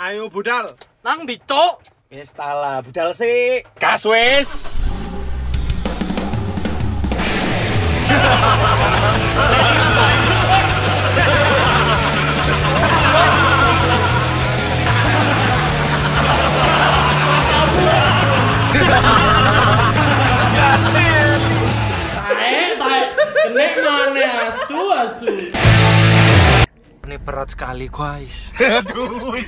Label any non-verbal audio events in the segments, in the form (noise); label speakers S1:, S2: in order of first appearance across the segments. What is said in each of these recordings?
S1: Ayo budal.
S2: Nang ndi, Cuk?
S3: Wis tala, budal sik.
S4: Gas wis.
S5: Eh, tai. Kenek mana asu asu.
S2: Ini berat sekali, guys.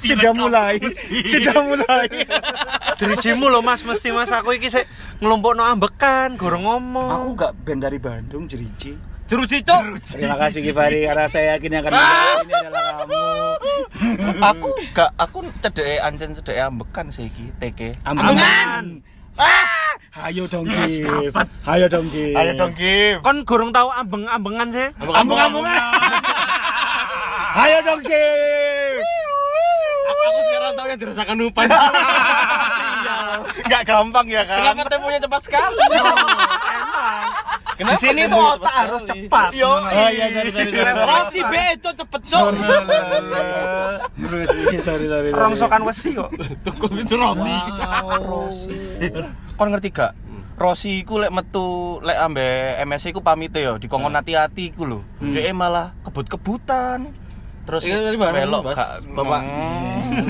S1: Sudah mulai. Sudah mulai.
S2: (laughs) Dirijimu loh, Mas, mesti Mas aku iki sik nglompokno ambekan, gorong ngomong.
S3: Aku gak band dari Bandung, Jerici.
S2: jeruji, Cuk. Ah!
S3: Terima kasih Givari karena saya yakin yang akan menang ini adalah kamu.
S4: aku gak aku cedek ancen cedek ambekan sih iki TK.
S3: Ambekan. Ah! Ayo dong,
S2: Ya,
S3: Gif. Ayo dong,
S2: Iya.
S3: Gif.
S4: Ayo dong Gif.
S2: Kon gorong tahu ambeng-ambengan sih.
S4: Ambung-ambungan.
S3: Ayo dong, Gif.
S5: Aku sekarang tahu yang dirasakan (laughs) Nupan.
S4: Gak gampang ya kan.
S5: Kenapa temponya cepat sekali?
S2: Di sini tuh otak harus cepat.
S4: Yo.
S3: Oh iya, sorry, sorry, sorry.
S5: Rosi be Cuk, cepet Cuk.
S3: (laughs) Terus, iya, sorry, sorry, sorry.
S4: Rongsokan wesi kok.
S5: Tuku itu Rosi.
S4: Kon ngerti gak? Rosi ku lek metu lek ambe MSC ku pamite yo dikongkon hati-hati ku lho. Dhek malah kebut-kebutan. Terus
S5: Ini tadi bahas-
S4: belok
S5: bahas
S4: gak
S5: Bapak.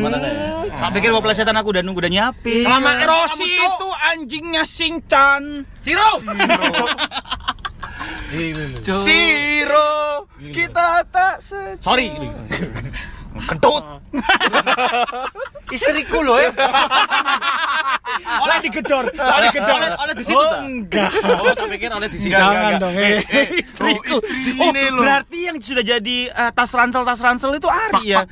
S5: Mana nih?
S3: Tak pikir mau plesetan aku dan nunggu dan nyapi.
S5: Ah. Kelamaan
S1: Rosi
S5: kamu, Cuk.
S1: itu anjingnya Singchan.
S5: Siro. (laughs) Ini, ini.
S4: Siro, kita tak se
S3: (laughs)
S5: Sorry.
S4: kentut.
S2: Istriku loh, eh.
S3: Oleh digedor,
S5: Oleh oleh oleh di situ.
S3: Oh,
S5: tak?
S3: enggak.
S5: Oh, tak pikir oleh di situ.
S4: Enggak,
S3: Jangan
S4: enggak,
S3: dong,
S4: enggak.
S3: eh.
S4: Eh, eh,
S3: (laughs) Istriku.
S4: oh, istri
S3: Oh,
S4: sini loh.
S3: berarti yang sudah jadi eh, tas ransel tas ransel itu Ari ya.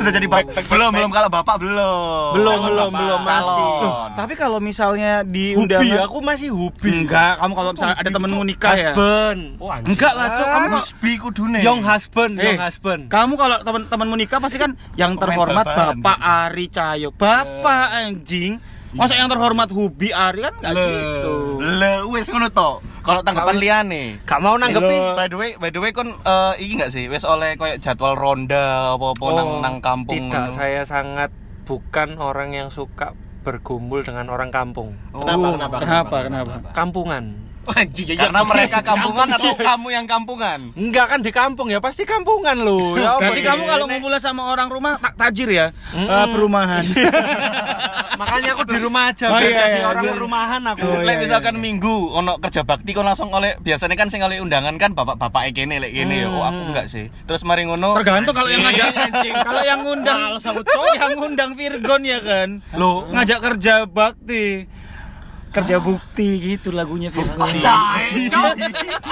S4: Sudah jadi back, belum belum kalau bapak belum.
S3: Belum, belum, belum,
S4: masih.
S3: Tapi kalau misalnya di
S4: Hubi,
S3: undangan-
S4: aku masih hubi.
S3: enggak, kamu kalau misalnya ada temenmu nikah ya.
S1: Husband.
S5: Oh, anjing.
S3: Enggak lah, Cuk.
S4: Ah,
S3: Kamu, kalau-
S4: Husbi kudune.
S1: Young husband,
S3: Eh.
S1: young husband.
S3: kamu kalau teman-temanmu nikah pasti kan yang terhormat
S4: babahan.
S3: Bapak Ari Cahyo. Bapak
S4: Iya.
S3: anjing. Masa yang terhormat Hubi Ari kan enggak gitu.
S4: Le wis ngono to. Kalau tanggapan liane.
S2: Gak mau nanggepi.
S4: By the way, by the way kon eh, iki enggak sih wis oleh koyo jadwal ronda apa-apa Oh,
S3: Oh,
S4: nang nang
S2: Oh.
S4: kampung.
S2: Tidak,
S4: ngono?
S2: saya sangat bukan orang yang suka bergumul dengan orang kampung.
S4: Oh.
S5: Kenapa? Kenapa?
S3: Oh, Kenapa? Iya. Kenapa?
S2: Kampungan.
S5: Oh, Anjing ya.
S3: (laughs)
S4: Karena mereka kampungan atau
S3: Iya.
S4: kamu yang kampungan?
S1: Enggak kan di kampung ya, pasti kampungan
S2: (laughs)
S1: lu. Ya apa
S3: Berarti
S1: sih?
S3: kamu kalau ngumpulnya sama orang rumah tak tajir ya? Eh, perumahan.
S1: makanya aku di rumah aja
S3: Oh,
S1: biar
S3: iya,
S1: jadi
S3: iya,
S1: orang
S3: biar-
S1: rumahan aku.
S3: Oh, iya,
S4: lek misalkan minggu ono kerja bakti kon langsung oleh biasanya kan sing oleh undangan kan bapak-bapak kene lek kene ya. Oh, aku enggak sih. Terus mari ngono
S3: Hmm. Tergantung kalau yang ngajak
S5: Anjing.
S3: kalau yang ngundang
S5: Males aku, Cuk.
S3: (laughs) yang ngundang Virgon ya kan. Lo ngajak kerja bakti. Kerja bukti gitu lagunya Virgon.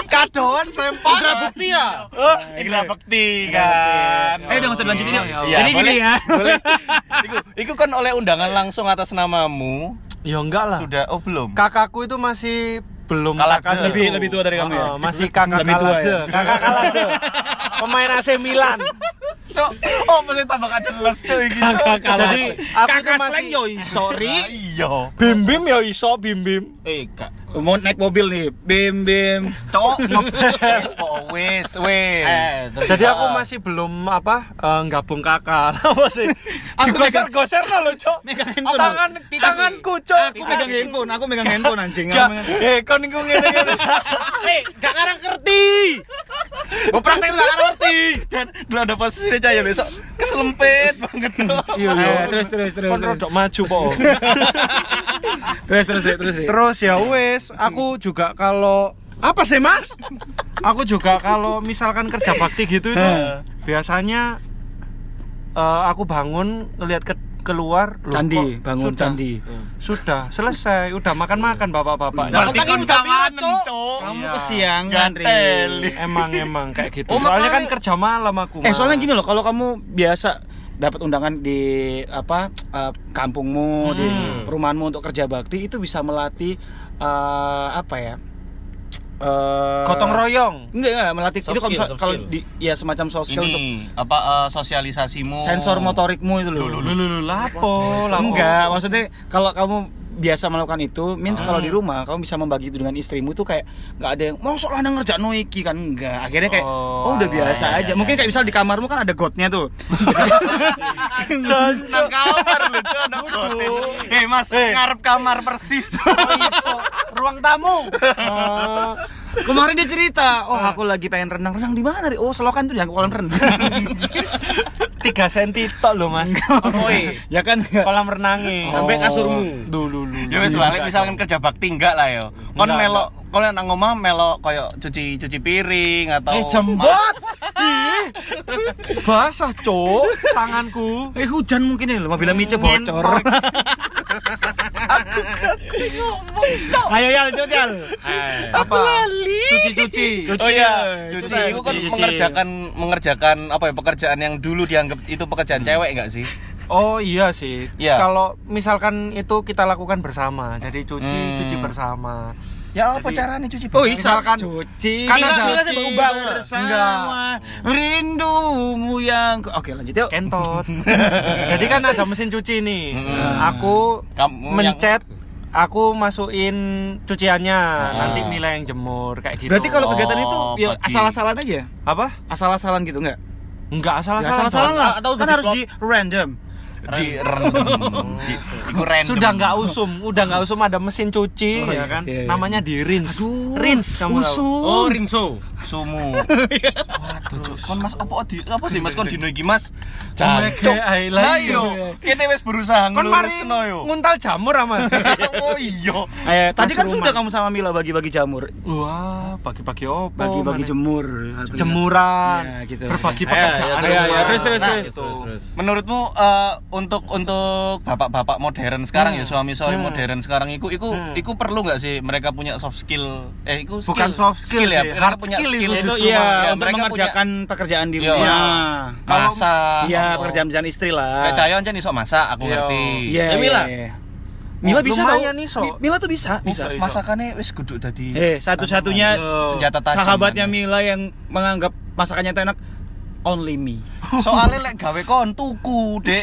S4: kadoan sempat.
S5: Indra Bukti ya?
S4: Oh, Indra Bekti kan.
S3: Eh udah nggak usah dilanjutin yuk.
S4: Iya,
S3: Jadi gini
S4: boleh.
S3: ya.
S4: Boleh. Iku, iku kan oleh undangan langsung atas namamu.
S2: Ya enggak
S3: Ah.
S2: lah.
S4: Sudah oh belum.
S2: Kakakku itu masih belum
S4: Kalah
S2: kakak
S4: aja.
S2: sih.
S3: Lebih lebih tua dari kamu ya.
S2: Oh, masih kakak
S3: Lebih tua
S2: kalah
S3: ya. (laughs)
S2: aja. Kakak kalah aja. Pemain AC Milan.
S4: Cok, oh mesti tambah jelas cok iki. gitu. Cok.
S2: Jadi aku tuh
S3: Kakak
S2: masih
S3: slang yo sorry.
S4: Ah, Iya.
S2: bim bim ya iso bim bim.
S5: Eh, Kak.
S3: Mau naik mobil nih. Bim bim.
S4: (laughs) Cok, wis po wis wis.
S5: Eh, terus-
S2: Jadi
S3: Ah.
S2: aku masih belum apa eh, gabung kakak. (laughs) Apa sih? Digoser-goser no lo,
S3: (laughs)
S2: Cok. Oh,
S3: Megang handphone.
S2: tangan tanganku, Cok.
S3: Aku megang handphone, aku megang handphone anjing.
S2: Gak,
S3: Aku megang-
S2: eh kon iku
S3: (laughs)
S2: ngene-ngene.
S5: Eh, gak ngarang ngerti. Mau praktek gak ngarang ngerti.
S4: Dan dulu ada posisi cahaya besok keselempit banget cok.
S3: Eh, Terus terus terus.
S2: Kon
S3: terus. Iya.
S2: rodok maju
S3: (laughs)
S2: po.
S3: Terus terus terus, terus.
S2: Terus ya wes, aku juga kalau apa sih mas? Aku juga kalau misalkan kerja bakti gitu itu
S3: Heh.
S2: biasanya eh, aku bangun ngelihat ke keluar loh, kok
S3: Candi, bangun
S2: sudah,
S3: candi. Iya.
S2: Sudah selesai, udah makan makan bapak bapak.
S4: Berarti kon sawanen cok.
S3: Kamu
S2: Iya.
S3: kesiangan, Ri.
S4: Gateli.
S2: Emang emang kayak gitu.
S5: Oh,
S2: soalnya kan
S5: makanya-
S2: kerja malam aku.
S3: Eh
S2: Mas.
S3: soalnya gini loh, kalau kamu biasa dapat undangan di apa eh, kampungmu di perumahanmu untuk kerja bakti itu bisa melatih eh, apa ya Eh,
S2: gotong royong.
S3: enggak enggak melatih
S5: Soft
S3: itu kalau
S5: skill,
S3: misal-
S5: soft
S3: kalau
S5: skill.
S3: di ya semacam soft skill untuk
S4: Ini apa eh, sosialisasimu?
S3: sensor motorikmu itu loh
S5: oh.
S2: Lulu lapo, lapo.
S3: enggak maksudnya kalau kamu biasa melakukan itu means kalau
S5: Ah.
S3: di rumah kamu bisa membagi itu dengan istrimu tuh kayak nggak ada yang mau sok lanang ngerjain no iki kan enggak akhirnya kayak oh,
S5: Oh,
S3: udah biasa
S5: iya,
S3: aja
S5: iya,
S3: mungkin kayak misal di kamarmu kan ada gotnya
S5: (laughs)
S3: tuh
S4: Nang kamar Oh, lho, Cok, nang kote. Eh, Mas, ngarep kamar (laughs) persis.
S2: ruang tamu
S3: kemarin dia cerita
S5: Ah.
S3: oh aku lagi pengen renang renang di mana Ri?" oh selokan tuh yang kolam renang (laughs)
S2: tiga senti tok lo mas
S5: Oi,
S3: ya kan
S2: kolam e. renangnya
S5: Oh, eh. sampai kasurmu.
S2: dulu dulu
S4: Ya wis lah, lek misalkan kerja bakti enggak lah yo. Kon melok, kon lek nang omah melok koyo cuci cuci piring atau
S2: eh jembot Ih, basah cok tanganku
S3: eh hujan mungkin ya mobilnya mice bocor ayo ya lanjut ya
S4: apa?
S2: cuci cuci
S4: Oh iya, cuci itu kan mengerjakan mengerjakan apa ya pekerjaan yang dulu dianggap itu pekerjaan
S2: Hmm.
S4: cewek enggak sih?
S2: oh iya sih
S4: Iya.
S2: kalau misalkan itu kita lakukan bersama jadi cuci
S4: Hmm.
S2: cuci bersama
S4: Ya apa caranya cuci
S2: oh
S3: iya,
S4: bersama?
S2: misalkan
S3: cuci
S2: Kan
S5: ada-
S3: cuci
S5: berubah, enggak?
S3: bersama rindumu yang oke lanjut yuk
S2: kentot jadi kan ada mesin cuci nih
S4: Mm-mm.
S2: aku
S4: Kamu
S2: mencet aku masukin cuciannya
S4: Ah.
S2: nanti Mila yang jemur kayak gitu
S3: berarti kalau kegiatan
S4: Oh,
S3: itu ya
S4: pagi.
S3: asal-asalan aja
S2: apa
S3: asal-asalan gitu nggak
S2: enggak salah
S3: Ya,
S2: salah
S3: asal-asalan lah
S5: Atau
S3: kan
S5: di
S3: harus
S5: blok.
S3: di random
S4: di rendem. Di- Iku random.
S2: sudah nggak usum udah nggak usum ada mesin cuci ya
S3: Oh, iya,
S2: kan
S3: iya, iya.
S2: namanya di rinse rinse kamu tahu
S3: usum
S5: Oh, Rinso.
S2: (laughs)
S4: sumu.
S2: Iya.
S4: Waduh, Cuk. kon Mas apa di- apa sih Mas kon dino iki Mas?
S2: Oke,
S4: Jancuk.
S2: I love
S4: Lah
S2: you.
S4: yo, kene wis berusaha
S2: kon mari
S4: ngelurusno yo.
S2: nguntal jamur
S3: (laughs)
S2: aman
S4: (laughs) Oh iya.
S3: Eh, tadi kan
S2: Mas
S3: sudah
S2: Ruman.
S3: kamu sama Mila bagi-bagi jamur,
S2: wah pagi-pagi opo
S3: bagi-bagi
S2: mana?
S3: jemur,
S2: jemuran
S3: Ya, gitu.
S2: berbagi
S5: Ayo,
S2: pekerjaan
S5: ayo, ayo,
S3: terus, terus,
S2: Nah,
S3: terus.
S2: itu.
S4: Menurutmu eh, untuk untuk bapak-bapak modern sekarang ya
S3: Hmm.
S4: suami-suami modern sekarang iku iku iku perlu nggak sih mereka punya soft skill eh iku skill,
S2: Bukan soft skill
S4: ya
S2: sih,
S4: mereka
S2: hard
S4: punya
S2: skill itu
S4: skill
S2: justru,
S4: itu Ya,
S3: Iya, untuk mengerjakan pekerjaan di
S4: Iya.
S3: rumah.
S2: Kalau-
S4: masak
S3: Iya, pekerjaan-pekerjaan istri lah.
S4: kayak Cahyo aja iso masak aku
S2: Iya.
S4: ngerti
S3: Iya,
S5: Ya, Mila.
S3: iya, iya. Mila
S2: Oh,
S3: bisa tau.
S2: lumayan iso.
S3: Mi- Mila tuh bisa, bisa.
S2: Bisa, iso.
S4: masakannya wis kudu tadi
S3: Eh, satu-satunya
S4: senjata tajam
S3: sahabatnya
S4: (laughs) kan.
S3: Mila yang menganggap masakannya itu enak only me.
S4: soalnya lek gawe kon tuku deh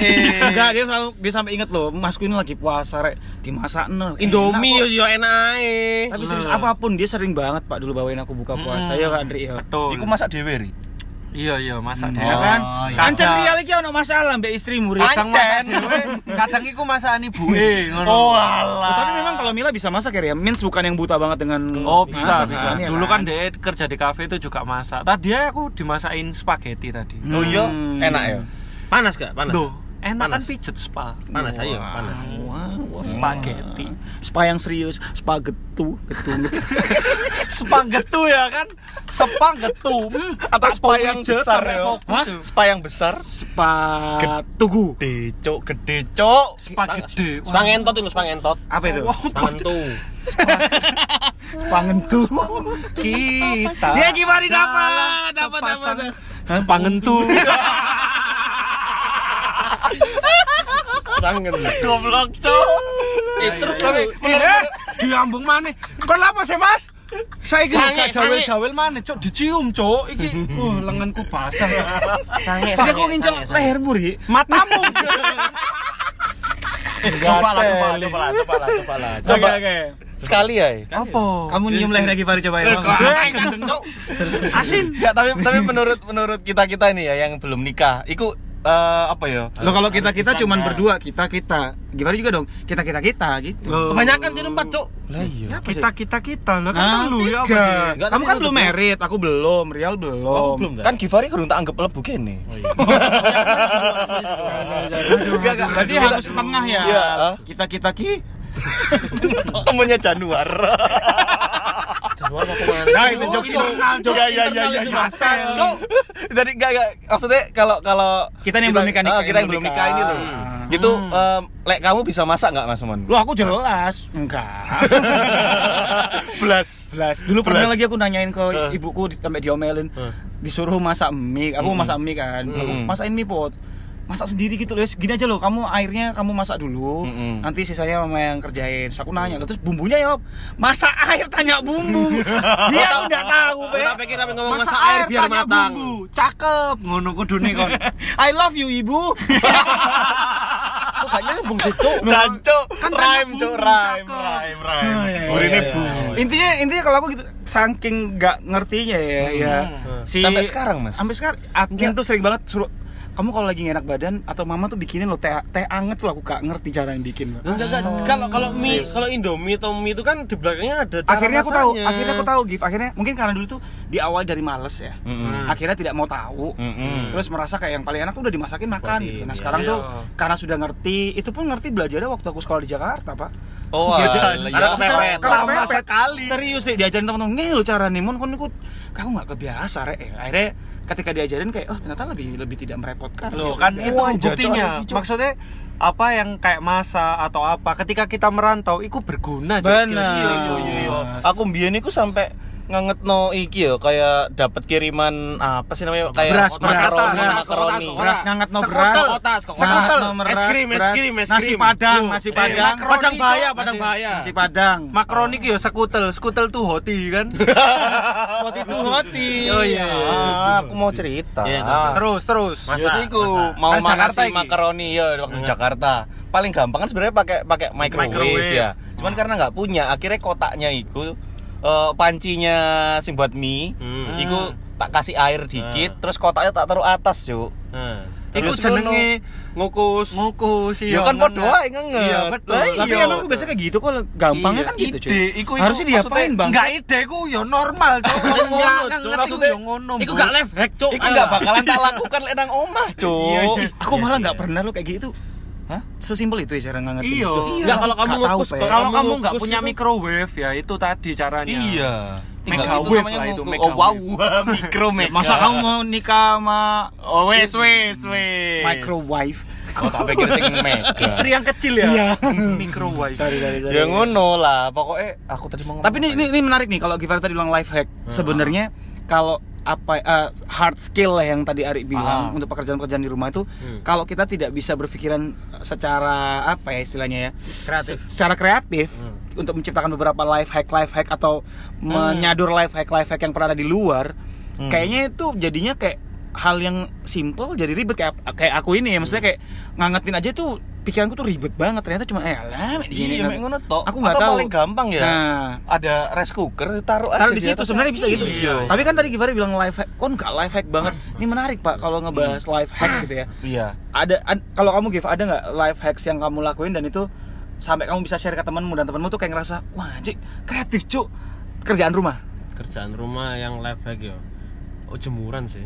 S3: Enggak, dia selalu dia sampai inget loh, masku ini lagi puasa rek, dimasak
S5: Indomie yo yo enak ae.
S3: Eh, Tapi serius apapun dia sering banget Pak dulu bawain aku buka
S2: Hmm.
S3: puasa ya Kak Andri ya.
S2: betul
S4: iku masak dhewe ri
S2: iya iya masak
S3: Ya
S2: dhewe.
S3: kan?
S4: iya.
S3: Kancen Ria iki ono masalah mbek istrimu Ria.
S2: kadang masak
S4: Ancen.
S2: dhewe, kadang iku masakan
S4: (laughs)
S2: ibuke ngono
S4: oh
S3: Oh, tapi
S4: alah
S3: memang kalau Mila bisa masak ya, Ria. Mins bukan yang buta banget dengan
S2: Oh bisa,
S3: masak,
S2: bisa.
S3: ya
S2: Dulu kan dia kerja di kafe itu juga masak. Tadi aku dimasakin spaghetti tadi.
S4: oh iya
S3: Hmm.
S4: enak ya
S5: Panas gak? Panas.
S2: Duh, enak kan
S5: Panas.
S2: pijet spa.
S5: Panas ayo, panas.
S3: Wow,
S2: Spaghetti.
S3: Spa yang serius, spa getu, getu. getu.
S2: Spaghetti ya kan? Spaghetti.
S4: atau spa yang besar ya
S3: Hah?
S4: spa yang besar
S3: spa tugu.
S4: gede cok gede cok
S2: Spa gede. Wah,
S5: Spang entot itu spang entot.
S3: Apa itu?
S5: Spang entu.
S3: Spa ngentu.
S2: (laughs) Kita.
S3: Ya gimana dapat?
S2: dalam
S3: Dapat dapat.
S2: sepasang Spangentu.
S5: Spang entu.
S4: goblok cok
S5: (laughs) Eh, terus lu
S2: Eh, di lambung mana? Kon apa sih, Mas? Saya
S5: Sange,
S2: kira
S5: sange.
S2: jawel-jawel mana, cok dicium, cok. Iki, uh, lenganku basah.
S5: sange.
S3: Jadi aku ngincel lehermu, Ri.
S5: (laughs)
S2: Matamu.
S3: Eh,
S4: coba lah coba lah coba lah coba lah coba lah coba
S3: oke.
S4: sekali ya
S2: Apa?
S3: Kamu nyium leher lagi Fari coba
S5: Eh,
S3: ya.
S2: Asin.
S4: ya tapi tapi menurut menurut kita kita ini ya yang belum nikah iku eh, apa ya
S3: Lo kalau kita-kita
S5: Harus bisa,
S3: cuman berdua, kita-kita. Gimana juga dong? Kita-kita kita gitu.
S5: Kebanyakan jadi empat, Cuk.
S2: kita kita Ya, kita lah kan
S3: Iya, Nah,
S2: lu ya apa
S3: tiga.
S2: sih?
S5: Enggak,
S3: Kamu kan
S5: tapi
S3: belum
S5: lu-
S3: merit, aku belum, Rial Oh, belum. Oh, iya.
S5: Aku belum kan.
S4: kan Givari kurang tak anggap lebu gini
S3: Berarti harus setengah ya.
S4: Iya.
S3: Kita-kita ki.
S4: (laughs) temennya Januar
S5: Januar mau kemana?
S3: Nah,
S2: Oh,
S3: itu Iya, jokes itu. Jokes
S4: ya, ya,
S3: internal
S4: ya,
S3: itu,
S4: ya.
S3: Mas. Cuk.
S4: jadi gak, gak maksudnya kalau kalau
S3: Kita yang belum nikah,
S4: eh,
S3: nikah,
S4: kita yang belum nikah ini loh
S3: Hmm.
S4: itu em, lek kamu bisa masak nggak mas
S3: (laughs)
S4: Momen?
S3: Lu aku jelas. Enggak.
S4: belas
S3: Belas. Dulu pernah
S4: Belas.
S3: lagi aku nanyain ke ibuku di- sampai diomelin. Disuruh masak mie, aku masak mie kan. Aku
S4: Mm-mm.
S3: masakin mie pot. Masak sendiri gitu loh. Yus. Gini aja loh, kamu airnya kamu masak dulu.
S4: Mm-mm.
S3: Nanti sisanya mama yang kerjain. Terus aku nanya, "Loh, terus bumbunya ya, Om? masak air tanya bumbu." Dia aku enggak tahu, Be.
S5: Kita pikir apa yang ngomong masak air biar
S2: tanya
S5: matang.
S2: bumbu.
S3: (laughs)
S2: Cakep ngono kudune kon.
S3: I love you, Ibu.
S5: Kok gak nyambung sih, Cuk.
S4: Jancuk,
S6: kan
S4: rhyme,
S6: karena
S4: cuk,
S6: bumbu cakep.
S4: rhyme, rhyme,
S3: Oh, iya,
S4: rhyme.
S3: iya,
S4: Urine
S5: iya,
S4: bu.
S3: intinya intinya kalau aku gitu saking nggak ngertinya ya, ya si
S4: Sampai sekarang, Mas?
S3: sampai sekarang Akin tuh sering banget suruh kamu kalau lagi nggak enak badan atau mama tuh bikinin lo teh teh anget tuh aku gak ngerti cara yang bikin Mbak.
S5: Enggak, enggak. Kalau kalau mie, kalau Indomie atau mie itu kan di belakangnya ada cara
S3: akhirnya aku tahu
S5: masaknya.
S3: akhirnya aku tahu Gif akhirnya mungkin karena dulu tuh diawali dari males ya
S4: Mm-mm.
S3: akhirnya tidak mau tahu
S4: Mm-mm.
S3: terus merasa kayak yang paling enak tuh udah dimasakin makan
S5: Buatin,
S3: gitu nah
S5: iya.
S3: sekarang tuh
S2: Iya.
S3: karena sudah ngerti itu pun ngerti belajarnya waktu aku sekolah di Jakarta pak
S4: Oh, alah,
S5: Jancuk.
S4: ya.
S5: Anak kepepet.
S3: iya, Kalau
S6: Lama
S3: mepet. Serius deh diajarin teman-teman, "Nih lo cara nih mon kon ikut." Kamu nggak kebiasa, Rek. Eh, Akhirnya ketika diajarin kayak, "Oh, ternyata lebih lebih tidak merepotkan." Gitu.
S2: Loh kan itu
S4: Wah, jajak
S3: Iya,
S2: buktinya.
S4: lagi, Cuk.
S2: Maksudnya apa yang kayak masa atau apa ketika kita merantau itu berguna Cuk, Iya,
S3: Benar.
S2: skill-skill itu.
S4: Yo, yo,
S3: Iya.
S4: yo. Aku mbiyen iku sampai nganget no iki ya kayak dapat kiriman ah, apa sih namanya kayak
S2: Beras, beras.
S4: makaroni
S2: Beras,
S4: makaroni
S5: beras.
S3: Beras ngangat no
S5: Sekotel,
S3: beras.
S5: kotas,
S3: Ngangat
S5: sekotel.
S3: no beras,
S5: Es krim, es
S3: beras.
S5: krim, es
S3: Nasi
S5: krim.
S3: padang,
S2: Loh,
S3: nasi
S2: eh,
S3: padang.
S2: makaroni,
S5: Padang bahaya,
S2: Cuk.
S5: padang bahaya.
S3: Nasi padang.
S2: Makroni ki yo sekutel, sekutel tuh hoti kan.
S3: Spot itu hoti.
S2: Oh, iya.
S4: Ah, aku mau cerita
S5: Iya, terus.
S2: (laughs) terus terus.
S4: Yo,
S3: Nah,
S4: sih, iku mau
S2: Kan
S4: makan
S2: Jakarta
S4: si
S2: iki.
S4: makaroni ya waktu di Jakarta. Paling gampang kan sebenarnya pakai pakai microwave,
S5: Microwave.
S4: ya. Cuman karena nggak punya, akhirnya kotaknya itu eh, pancinya sing buat mie,
S5: Hmm.
S4: iku tak kasih air
S3: Nah.
S4: dikit, terus kotaknya tak taruh atas, Cuk.
S5: Nah.
S2: Iku
S4: Terus
S2: jenenge
S5: Ngukus.
S2: nguku sih.
S4: Ya kan podo ae ngenget.
S2: Iya betul.
S4: Lah,
S3: Tapi emang aku biasanya kayak gitu kok gampangnya
S2: Iya,
S3: kan gitu, cuy.
S4: ide, iku, iku,
S3: Harusnya diapain,
S4: maksudnya
S3: Bang?
S2: Enggak ide ku yo normal Cuk. Wong
S5: Iya,
S2: ngono
S5: Cuk.
S2: kan ngerti ku
S5: Maksudnya,
S2: yo ngono.
S5: Iku
S2: Bu.
S5: gak left hack, Cuk.
S4: Iku
S2: Ah.
S4: nggak bakalan tak lakukan lek nang omah,
S2: Iya, Oh,
S4: Cuk.
S3: Ih, aku malah nggak pernah lo kayak gitu.
S4: Hah?
S3: Sesimpel itu ya cara nggak ngerti.
S2: Iya.
S3: gitu.
S5: Nggak, kalau kamu
S3: Nggak tahu,
S5: ngukus
S3: Pak, ya.
S2: Kalau kamu
S5: Kamu
S2: nggak
S5: ngukus
S2: punya
S5: itu-
S2: microwave ya itu tadi caranya.
S4: Iya.
S2: Mega
S4: Tinggal
S2: wave
S4: namanya
S2: lah itu,
S4: nguku.
S2: mega
S4: Oh, wow,
S2: wave.
S3: (laughs)
S4: mikro mega.
S3: Eh, Masa kamu mau nikah sama
S4: Oh, wes wes wes.
S3: microwave? Iya.
S4: Oh, tak pikir sing mega.
S3: (laughs)
S2: Istri yang kecil ya. microwave.
S3: Sorry, sorry, sorry.
S4: Ya ngono lah, pokoknya aku tadi mau ngomong.
S3: Tapi ini,
S4: apa
S3: ini
S4: ya?
S3: ini menarik nih kalau Givar tadi bilang life hack.
S4: Hmm.
S3: Sebenarnya kalau apa eh, hard skill lah yang tadi Ari
S4: Ah.
S3: bilang untuk pekerjaan-pekerjaan di rumah itu
S4: Hmm.
S3: kalau kita tidak bisa berpikiran secara apa ya istilahnya ya
S5: Kreatif.
S3: se- secara kreatif
S4: Hmm.
S3: untuk menciptakan beberapa life hack life hack atau menyadur life hack life hack yang pernah ada di luar
S4: Hmm.
S3: kayaknya itu jadinya kayak hal yang simple jadi ribet kayak kayak aku ini ya maksudnya
S4: Hmm.
S3: kayak ngangetin aja tuh pikiranku tuh ribet banget ternyata cuma eh alah
S4: Iya, mek ngono tok.
S3: aku nggak
S4: Atau
S3: tahu
S4: paling gampang ya.
S3: Nah.
S4: Ada rice cooker taruh aja
S3: taruh di situ
S4: atas.
S3: sebenarnya bisa gitu.
S4: Iya.
S3: Tapi kan tadi Givari bilang life hack, kon nggak life hack banget. Ini menarik Pak kalau ngebahas life hack gitu ya.
S4: Iya.
S3: Ada ad- kalau kamu Giv ada nggak life hacks yang kamu lakuin dan itu sampai kamu bisa share ke temanmu dan temanmu tuh kayak ngerasa wah anjing kreatif cuk kerjaan rumah.
S5: Kerjaan rumah yang life hack ya. Oh, jemuran sih.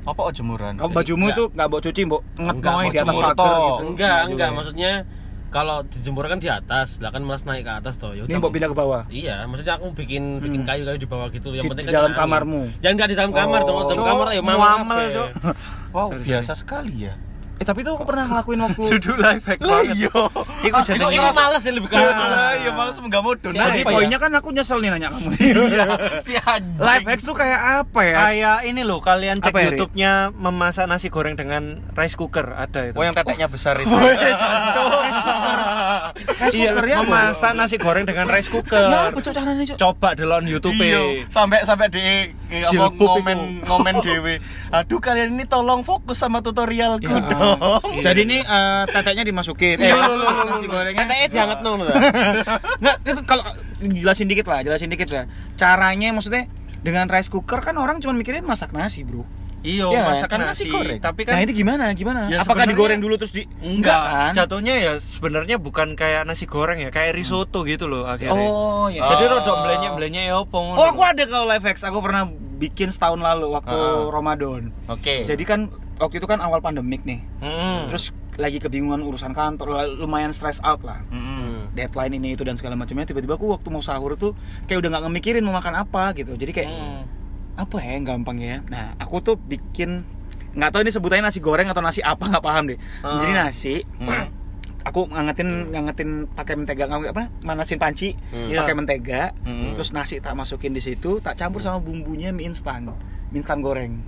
S4: Apa oh jemuran?
S3: Kamu bajumu
S5: Nggak.
S3: tuh nggak bawa cuci, mbok
S5: Nggak,
S3: ngetnoy
S4: mbok
S3: di atas
S4: jemur
S3: pagar
S4: toh.
S3: gitu.
S5: Enggak,
S3: juga
S5: enggak,
S3: ya.
S5: maksudnya kalau dijemur kan di atas, lah kan malas naik ke atas toh. Ya
S3: Ini
S5: udah,
S3: mbok pindah ke bawah.
S5: Iya, maksudnya aku bikin bikin kayu-kayu di bawah gitu.
S3: Di-
S5: Yang penting
S3: di
S5: kan
S3: dalam
S5: kena angin.
S3: kamarmu?
S5: Jangan nggak di dalam kamar,
S3: Oh.
S5: dong. Dalam
S4: Cok,
S5: kamar ya mama.
S2: muamel, Cok.
S4: Wow, Oh, biasa sekali ya.
S3: Eh tapi tuh aku pernah ngelakuin waktu
S2: Judul life hack banget.
S4: Iya.
S2: Iku
S5: Iku
S2: jenenge
S5: iku males sih lebih ke
S4: Lah, ya males enggak mau
S3: Jadi
S5: Apa ya?
S3: poinnya kan aku nyesel nih nanya kamu. (laughs)
S4: Si anjing.
S3: life hacks tuh kayak apa ya?
S2: kayak ini loh kalian cek
S3: Apa ya, Ri?
S2: YouTube-nya memasak nasi goreng dengan rice cooker ada itu.
S4: Oh, yang teteknya besar itu.
S3: Rice
S2: Iya,
S3: cooker ya, Mbok.
S2: memasak nasi goreng dengan rice
S3: Ya,
S2: cooker.
S3: apa Cuk, caranya, Cuk?
S2: Coba delon YouTube.
S4: Iya, sampai sampai di eh, apa,
S2: Jilbab
S4: ngomen ngomen dewe. Aduh kalian ini tolong fokus sama tutorialku
S3: Iya.
S4: dong.
S3: Jadi ini eh, teteknya dimasukin. Eh, nasi gorengnya.
S5: Katanya dianget nong. lho.
S3: Enggak, itu kalau jelasin dikit lah, jelasin dikit lah. Caranya maksudnya dengan rice cooker kan orang cuma mikirin masak nasi, Bro.
S2: Iya,
S3: Iya,
S2: masak
S3: kan
S2: nasi
S3: nasi
S2: goreng. Tapi kan
S3: nah, itu gimana? Gimana?
S2: Ya,
S3: Apakah
S2: sebenarnya-
S3: digoreng dulu terus di
S2: enggak,
S3: kan?
S2: jatuhnya ya sebenarnya bukan kayak nasi goreng ya, kayak risotto gitu loh akhirnya.
S3: Oh, iya.
S2: Jadi
S4: Oh.
S2: rodok blenyek-blenyek ya opo ngono.
S3: Oh, aku ada kalau live hacks. Aku pernah bikin setahun lalu waktu
S4: Ah.
S3: Ramadan.
S4: Oke.
S3: Jadi kan waktu itu kan awal pandemik nih.
S5: Hmm.
S2: Mm-mm.
S3: Terus lagi kebingungan urusan kantor, lumayan stress out lah.
S2: Hmm.
S4: Mm-mm.
S3: deadline ini itu dan segala macamnya tiba-tiba aku waktu mau sahur tuh kayak udah nggak ngemikirin mau makan apa gitu jadi kayak apa ya yang gampang ya nah aku tuh bikin nggak tahu ini sebutannya nasi goreng atau nasi apa nggak paham deh jadi nasi
S4: Hmm.
S3: aku ngangetin ngangetin pakai mentega nggak apa manasin panci pakai mentega
S4: Hmm.
S3: terus nasi tak masukin di situ tak campur sama bumbunya mie instan mie instan goreng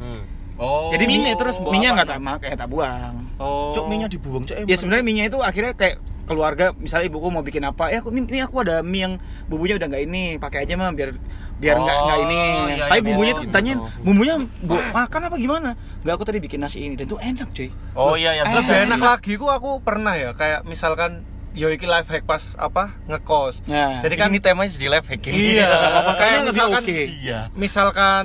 S4: Oh.
S3: jadi mie
S2: terus buang apa?
S3: minyak nggak tak mak- kayak tak buang
S2: Oh.
S4: cuk Eh, minyak dibuang cuk.
S3: ya sebenarnya minyak Ya, itu akhirnya kayak keluarga misalnya ibuku mau bikin apa ya aku ini, ini aku ada mie yang bumbunya udah nggak ini pakai aja mah biar biar nggak
S4: Oh,
S3: nggak ini
S4: iya,
S3: tapi
S4: iya,
S3: bumbunya
S4: iya,
S3: tuh
S4: gitu.
S3: tanyain bumbunya gue makan apa gimana nggak aku tadi bikin nasi ini dan tuh enak cuy
S4: Oh iya ya.
S2: Terus
S4: bisa
S2: enak
S4: sih.
S2: lagi ku aku pernah ya kayak misalkan yo iki life hack pas apa ngekos.
S3: Nah,
S2: Jadi kan
S4: ini temanya jadi live hack ini. (laughs)
S2: iya, kayak
S3: Makanya lebih
S2: misalkan
S3: oke.
S4: Iya.
S2: misalkan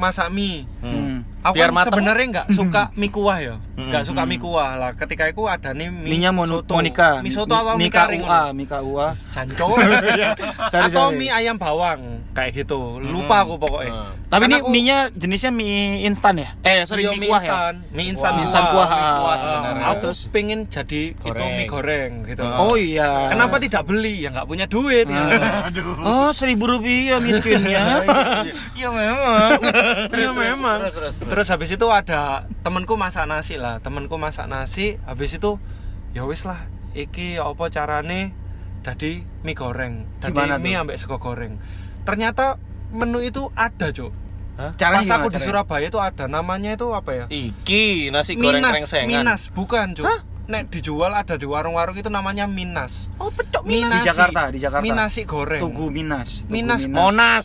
S2: masak mie.
S4: Hmm.
S2: Aku
S4: Biar
S2: kan
S4: mateng.
S2: sebenarnya nggak suka mie kuah ya,
S4: Hmm.
S2: nggak suka mie kuah lah. Ketika aku ada nih mie
S3: Minya
S2: soto.
S3: Monica,
S2: mie soto atau mie karing,
S3: KUA, mie KUA.
S2: janco,
S3: (laughs) Iya. Sorry,
S2: atau
S3: sorry.
S2: mie ayam bawang kayak gitu. Lupa aku pokoknya.
S4: Hmm.
S3: Tapi
S2: Karena
S3: ini
S2: aku-
S3: mie-nya jenisnya mie instan ya? Eh, sorry,
S2: Iya,
S3: mie kuah ya?
S2: instan, mie instan,
S4: Wah.
S2: mie
S3: Instan kuah,
S4: mie
S3: ah.
S4: kuah
S2: Ah,
S4: sebenarnya.
S2: aku pengen jadi itu mie
S5: Goreng.
S2: goreng gitu.
S3: Oh iya.
S2: Kenapa tidak beli? Ya nggak punya duit. ya.
S3: Oh, seribu rupiah miskinnya.
S4: Iya
S2: (laughs)
S4: memang.
S2: Iya memang.
S5: terus, terus, terus.
S2: Terus habis itu ada temanku masak nasi lah. Temanku masak nasi. Habis itu ya wis lah. Iki apa carane? Dadi mie goreng. Dadi
S3: Gimana
S2: mie
S3: tuh?
S2: ambek sego goreng. Ternyata menu itu ada cok.
S3: Caranya
S2: Pas
S3: gimana
S2: aku di
S3: caranya?
S2: Surabaya itu ada. Namanya itu apa ya?
S4: Iki nasi goreng
S2: Minas.
S4: krengsengan.
S2: Minas bukan cok. Nek dijual ada di warung-warung itu namanya Minas.
S4: Oh pecok
S2: Minas.
S3: Di Jakarta, di Jakarta.
S2: Minasi goreng.
S3: Tugu Minas. Tugu
S2: Minas
S4: Monas.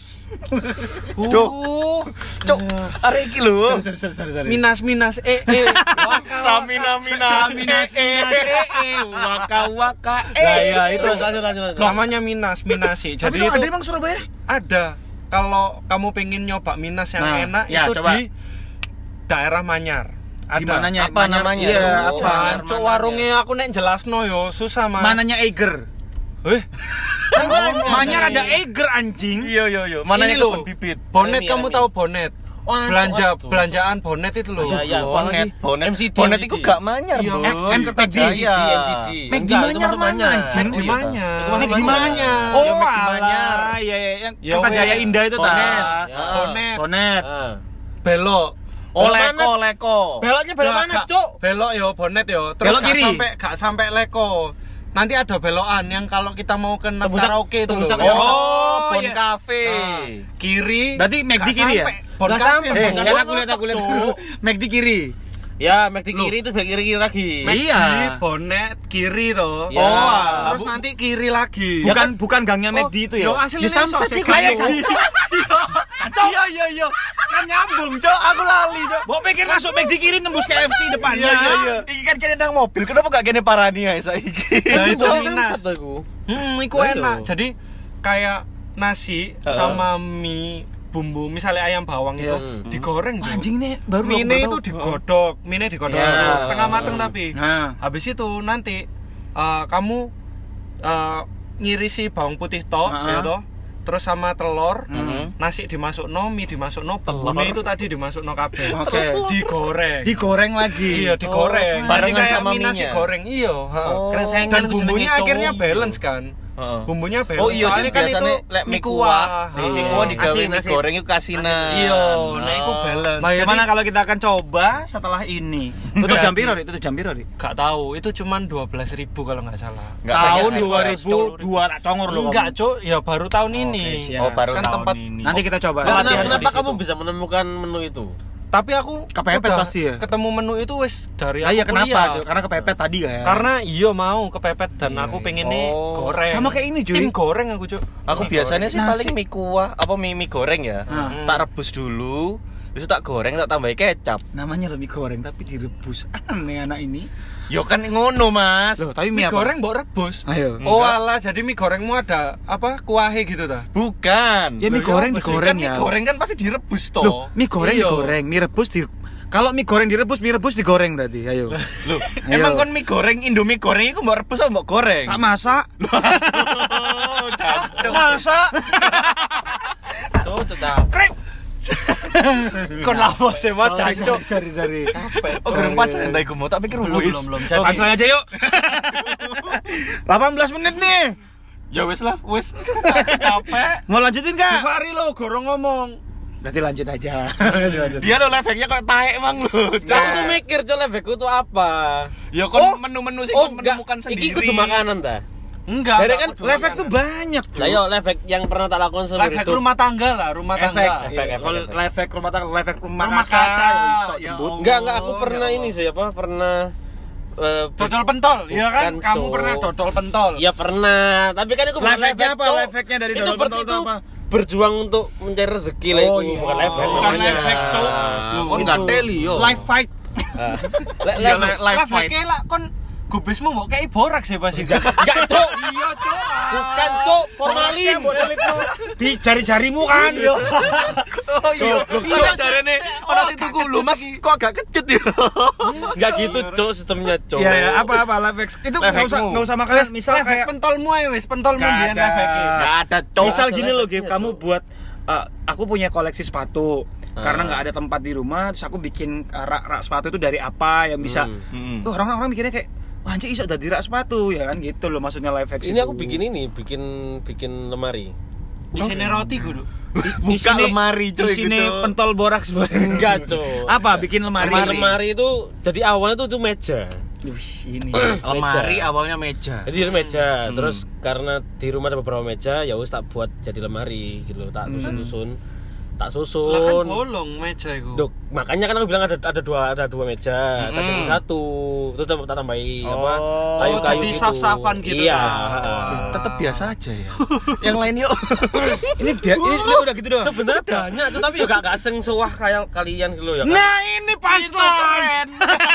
S2: Uh,
S4: Duh. Cok, arek iki lho.
S3: Oh. Sorry, sorry, sorry, sorry.
S2: Minas Minas eh eh. Waka,
S4: Samina mina eh, minas.
S3: Waka waka.
S2: Nah, ya, itu.
S5: Terus, lanjut lanjut lanjut.
S2: Namanya Minas Minasi.
S3: Jadi
S2: Jadi itu
S3: ada emang Surabaya?
S2: ada kalau kamu pengen nyoba minas yang
S3: Nah,
S2: enak
S3: ya,
S2: itu
S3: coba.
S2: di daerah Manyar ada Oh,
S3: Dimananya?
S4: Apa
S3: Banyak-
S4: namanya?
S3: iya,
S4: Cok?
S3: apa?
S4: Manyar,
S2: Cuk,
S4: Manyar, ya.
S2: warungnya aku nek jelasno yo susah mas
S3: Mananya Eger.
S2: eh
S3: Manyar ada Eger anjing.
S4: Iya iya iya. Mananya
S2: Ini lho.
S4: kebun bibit.
S2: bonet
S5: Remi,
S2: kamu
S5: Remi.
S2: tahu bonet
S5: Oh, anu,
S2: belanja
S5: anu.
S2: belanjaan bonet itu loh
S5: Iya, iya. Apa
S4: Bonet,
S5: lagi?
S4: bonet.
S5: MCD,
S4: bonet
S5: MCD.
S4: iku gak manyar,
S2: Iya,
S4: Bu.
S2: M-
S4: M
S3: MCD.
S4: Jaya.
S5: MCD. Enggak,
S3: Mac di
S5: itu
S3: Manyar
S5: masuk
S3: mana,
S5: Manyar.
S3: anjing?
S2: Mac di
S4: iya, Pak.
S2: Manyar.
S5: Oh, Itu masuk
S2: Mac di
S5: Manyar.
S2: Manyar.
S4: Oh,
S3: Ya, Mac di
S4: alah.
S3: Manyar. Iya, iya, yang
S2: Ya,
S3: Kota
S2: wes.
S3: Jaya Indah itu ta.
S4: Bonet.
S5: Ya.
S3: Iya.
S2: bonet
S3: Bonet.
S5: Ah.
S2: belok
S4: Oh,
S5: Belok
S4: leko,
S5: mana?
S4: leko.
S5: Eh. Beloknya belok
S2: Nah,
S5: mana,
S2: gak-
S5: Cuk?
S2: belok yo bonet yo terus
S3: Belok
S2: gak
S3: kiri.
S2: sampai gak sampai leko nanti ada belokan yang kalau kita mau ke naf
S5: Tembusan-
S2: karaoke itu loh
S5: tembusan ke
S2: Oh,
S5: Jakarta.
S4: Oh, Nah. Bon
S3: iya.
S4: Cafe.
S2: kiri
S3: Berarti McD
S2: Gak
S3: kiri ya?
S2: sampai. Bon
S5: Gak
S2: Cafe,
S5: sampai,
S2: Bon.
S3: Eh,
S5: Bonet.
S3: kan aku lihat aku lihat.
S5: Cuk.
S3: Mac di kiri.
S5: Ya, Mac di kiri terus balik kiri kiri lagi.
S2: Mac
S3: Iya.
S2: di bonet kiri toh
S5: Ya.
S2: oh terus nanti kiri lagi
S5: Ya
S3: Bukan Iya kan? bukan gangnya Mac di itu ya.
S2: yo asli ini sosis
S3: itu
S2: kayak
S3: kayak (laughs)
S2: jadi
S3: Iya iya iya. Kan nyambung, Cok. Aku lali, Cok. Mau pikir masuk back di kiri nembus ke FC depannya.
S4: Iya, iya, iya. Iki kan kene nang mobil, kenapa gak kene parani ae saiki?
S2: Nah,
S5: Itu
S2: itu
S5: bos
S2: minas.
S5: satu aku.
S2: hmm iku
S5: Ayo.
S2: enak jadi kayak nasi sama mie bumbu misalnya ayam bawang
S3: Iya.
S2: itu
S5: Hmm.
S2: digoreng Cuk.
S3: Anjing nih baru
S2: mie
S3: baru
S2: itu
S3: tahu.
S2: digodok mie digodok
S4: Iya.
S2: dulu, setengah mateng tapi
S3: Nah.
S2: habis itu nanti eh, kamu eh, ngirisi bawang putih toh ya
S3: Ah.
S2: toh terus sama telur
S4: Mhm.
S2: nasi dimasuk no mie dimasuk no
S4: Telur.
S2: bumbunya itu tadi dimasuk no kabeh
S3: Oke.
S2: digoreng
S3: Digoreng lagi.
S2: iya digoreng
S4: Oh, barengan
S2: Jadi kayak
S4: sama
S2: mie nasi
S4: minyak.
S2: goreng iya ha.
S4: Oh.
S5: Krengsengan
S2: dan
S5: aku
S2: bumbunya
S5: senengnya
S2: akhirnya
S5: cowok.
S2: balance kan
S4: Heeh.
S2: bumbunya balance
S4: Oh iya sih
S2: Soalnya kan itu
S4: biasanya lek mie kuah,
S2: kuah. Ha.
S4: mie kuah digawe
S5: Asin,
S4: mie
S5: asin.
S4: goreng iku kasinan.
S2: iya nah
S4: Oh.
S2: itu balance
S3: Bagaimana
S2: Jadi,
S3: kalau kita akan coba setelah ini? Tutup jam
S2: Berarti-
S3: piro, Ri? Tutup jam piro, Ri?
S2: gak tahu itu cuman 12.000 ribu kalau nggak salah
S4: Nggak
S3: Tahun
S4: banyak,
S3: 2002 tak congor loh.
S2: enggak
S3: kamu.
S2: cuk ya baru tahun ini
S3: siap.
S4: Oh, baru
S2: Kan
S4: tahun
S2: tempat-
S4: ini.
S3: Nanti kita coba.
S5: Nah,
S2: Latihan
S5: Kenapa, kenapa
S2: di
S5: kamu
S2: situ.
S5: bisa menemukan menu itu?
S2: tapi aku
S3: Kepepet
S2: udah
S3: pasti ya?
S2: ketemu menu itu wes dari
S3: Lah
S2: aku
S3: iya
S2: kuliah.
S3: kenapa, Cok? Karena kepepet tadi ya.
S2: karena iya mau kepepet dan aku pengen nih
S4: Oh.
S2: goreng
S3: Sama kayak ini, cuy.
S2: tim goreng aku cuy
S4: Aku biasanya sih
S3: Nasi.
S4: paling mie kuah apa mie mie goreng ya.
S3: Hmm.
S4: Tak rebus dulu, terus tak goreng tak tambahi kecap.
S3: namanya lebih goreng tapi direbus. Aneh anak ini.
S4: Yo kan ngono, Mas.
S3: Loh, tapi
S2: mie
S3: mie apa?
S2: goreng mbok rebus
S3: Ayo.
S2: oh
S4: Enggak.
S2: ala jadi mie gorengmu ada apa kuahnya gitu ta
S4: Bukan.
S3: Ya mie
S4: apa
S3: goreng
S4: sih?
S3: digoreng
S4: Kan Mie
S3: ya.
S4: goreng kan pasti direbus toh.
S3: Loh, mie goreng
S2: Iya.
S3: digoreng, mie rebus di Kalau mie goreng direbus, mie rebus digoreng tadi. Ayo.
S4: Loh,
S3: Ayo.
S4: emang kon mie goreng Indomie goreng iku mbok rebus apa mbok goreng? (laughs)
S3: Tak masak.
S2: masa
S5: Tuh, tuh, dah.
S2: kon lawas ya mas
S3: Sorry,
S2: Jancu.
S3: Oh, sorry, sorry, sorry.
S4: Oh, goreng pacar entai iku mau tak pikir belum belum belum.
S3: Langsung ya? Oh, aja yuk. 18 menit nih.
S4: Ya wis lah, wis. (laughs) Aku capek.
S3: Mau lanjutin nggak?
S2: Fari lo gorong ngomong
S3: Berarti lanjut
S2: (laughs)
S3: aja.
S2: Iya,
S4: Dia lo lefeknya kok taek emang lo.
S5: Aku tuh mikir Cok, lebekku tuh apa?
S4: Ya kon menu-menu sih
S5: Oh,
S4: kon
S5: enggak.
S4: menemukan sendiri.
S5: Iki kudu makanan ta?
S2: enggak
S5: Dari
S2: enggak,
S5: kan
S2: aku dulu
S3: Lefek tuh
S2: makanan.
S3: banyak.
S5: Lah yo lefek yang pernah tak lakukan seumur
S2: lefek
S5: hidup.
S2: rumah tangga lah rumah
S3: Efek,
S2: tangga
S5: Efek, efek,
S3: kalau
S5: efek.
S3: lefek rumah tangga, lefek rumah,
S2: Rumah
S3: kaca,
S2: kaca.
S3: ya iso
S2: Ya
S3: jembut.
S5: Enggak, enggak aku pernah ini sih apa? Pernah eh, ber-
S6: Dodol pentol,
S2: iya
S6: ya kan?
S5: Bukan,
S6: Kamu
S5: Cuk.
S6: pernah dodol pentol.
S5: Ya pernah, tapi kan itu bukan
S3: Life hacknya apa?
S5: Cuk.
S3: Life hacknya dari
S5: itu
S3: dodol
S5: berarti
S3: pentol itu
S5: itu
S3: apa?
S5: berjuang untuk mencari rezeki lah
S3: Oh,
S5: itu,
S3: iya.
S5: bukan life hack
S6: Bukan
S5: namanya.
S6: life hack, Cuk.
S4: Lu kan nggak teli
S2: iya.
S4: yo.
S3: Live fight. (laughs)
S5: Ah. Le-
S3: Iya,
S4: Ya,
S5: le-
S4: le- live
S6: Lah,
S4: fight.
S6: kayak lah kon gubesmu mbok kei borak sih pasti.
S5: Enggak, Cuk.
S6: Iya, Cuk.
S5: Bukan, Cuk. Formalin.
S3: Di jari-jarimu kan.
S2: Iya,
S4: Oh iya. Iya jarene ana sing tuku lu Mas kok agak kecut yo.
S5: Enggak gitu, Cuk, sistemnya, Cuk.
S3: Iya, ya, apa apa live hack. Itu
S4: Live
S3: enggak usah
S4: hackmu.
S3: enggak usah makanan, misal
S6: Lah,
S3: kayak
S6: pentolmu ae wis, pentolmu
S3: Nggak
S6: mbiyen
S3: ada.
S6: lah Fek.
S4: Enggak ada, Cuk.
S3: misal gini loh,
S5: Soalnya
S3: Gif, kamu buat uh, aku punya koleksi sepatu karena nggak ada tempat di rumah, terus aku bikin uh, rak, rak sepatu itu dari apa yang bisa.
S5: Hmm.
S4: Hmm.
S3: Tuh, orang-orang mikirnya kayak Wah, anjir iso dari rak sepatu ya kan gitu loh maksudnya live hack.
S5: Ini aku bikin ini, bikin bikin lemari.
S6: Isine roti kudu.
S4: Buka lemari cuy
S3: Di sini
S4: gitu.
S3: pentol borak sebenarnya.
S5: Enggak, Cuk.
S3: Apa bikin lemari?
S5: Lemari, lemari itu jadi awalnya tuh itu meja.
S3: Wih, ini.
S4: Lemari
S5: Meja.
S4: awalnya meja.
S5: Jadi ada meja,
S6: Hmm.
S5: terus karena di rumah ada beberapa meja, ya wis tak buat jadi lemari gitu, loh. tak susun-susun, tak
S6: Hmm. Lah kan
S5: susun.
S6: bolong meja iku.
S5: Duh, makanya kan aku bilang ada ada dua ada dua meja,
S6: Hmm.
S5: tadi ada satu, terus tak tak tambahi apa? Kayu-kayu
S6: Oh, jadi
S5: gitu.
S6: saf-safan gitu
S5: Iya.
S6: kan?
S5: heeh.
S4: Tetap biasa aja ya. Yang lain yuk.
S3: ini biar ini, ini udah gitu doang.
S5: ya Sebenarnya banyak tuh tapi juga gak seng suah kayak kalian gitu loh ya. kan?
S3: Nah, ini punchline.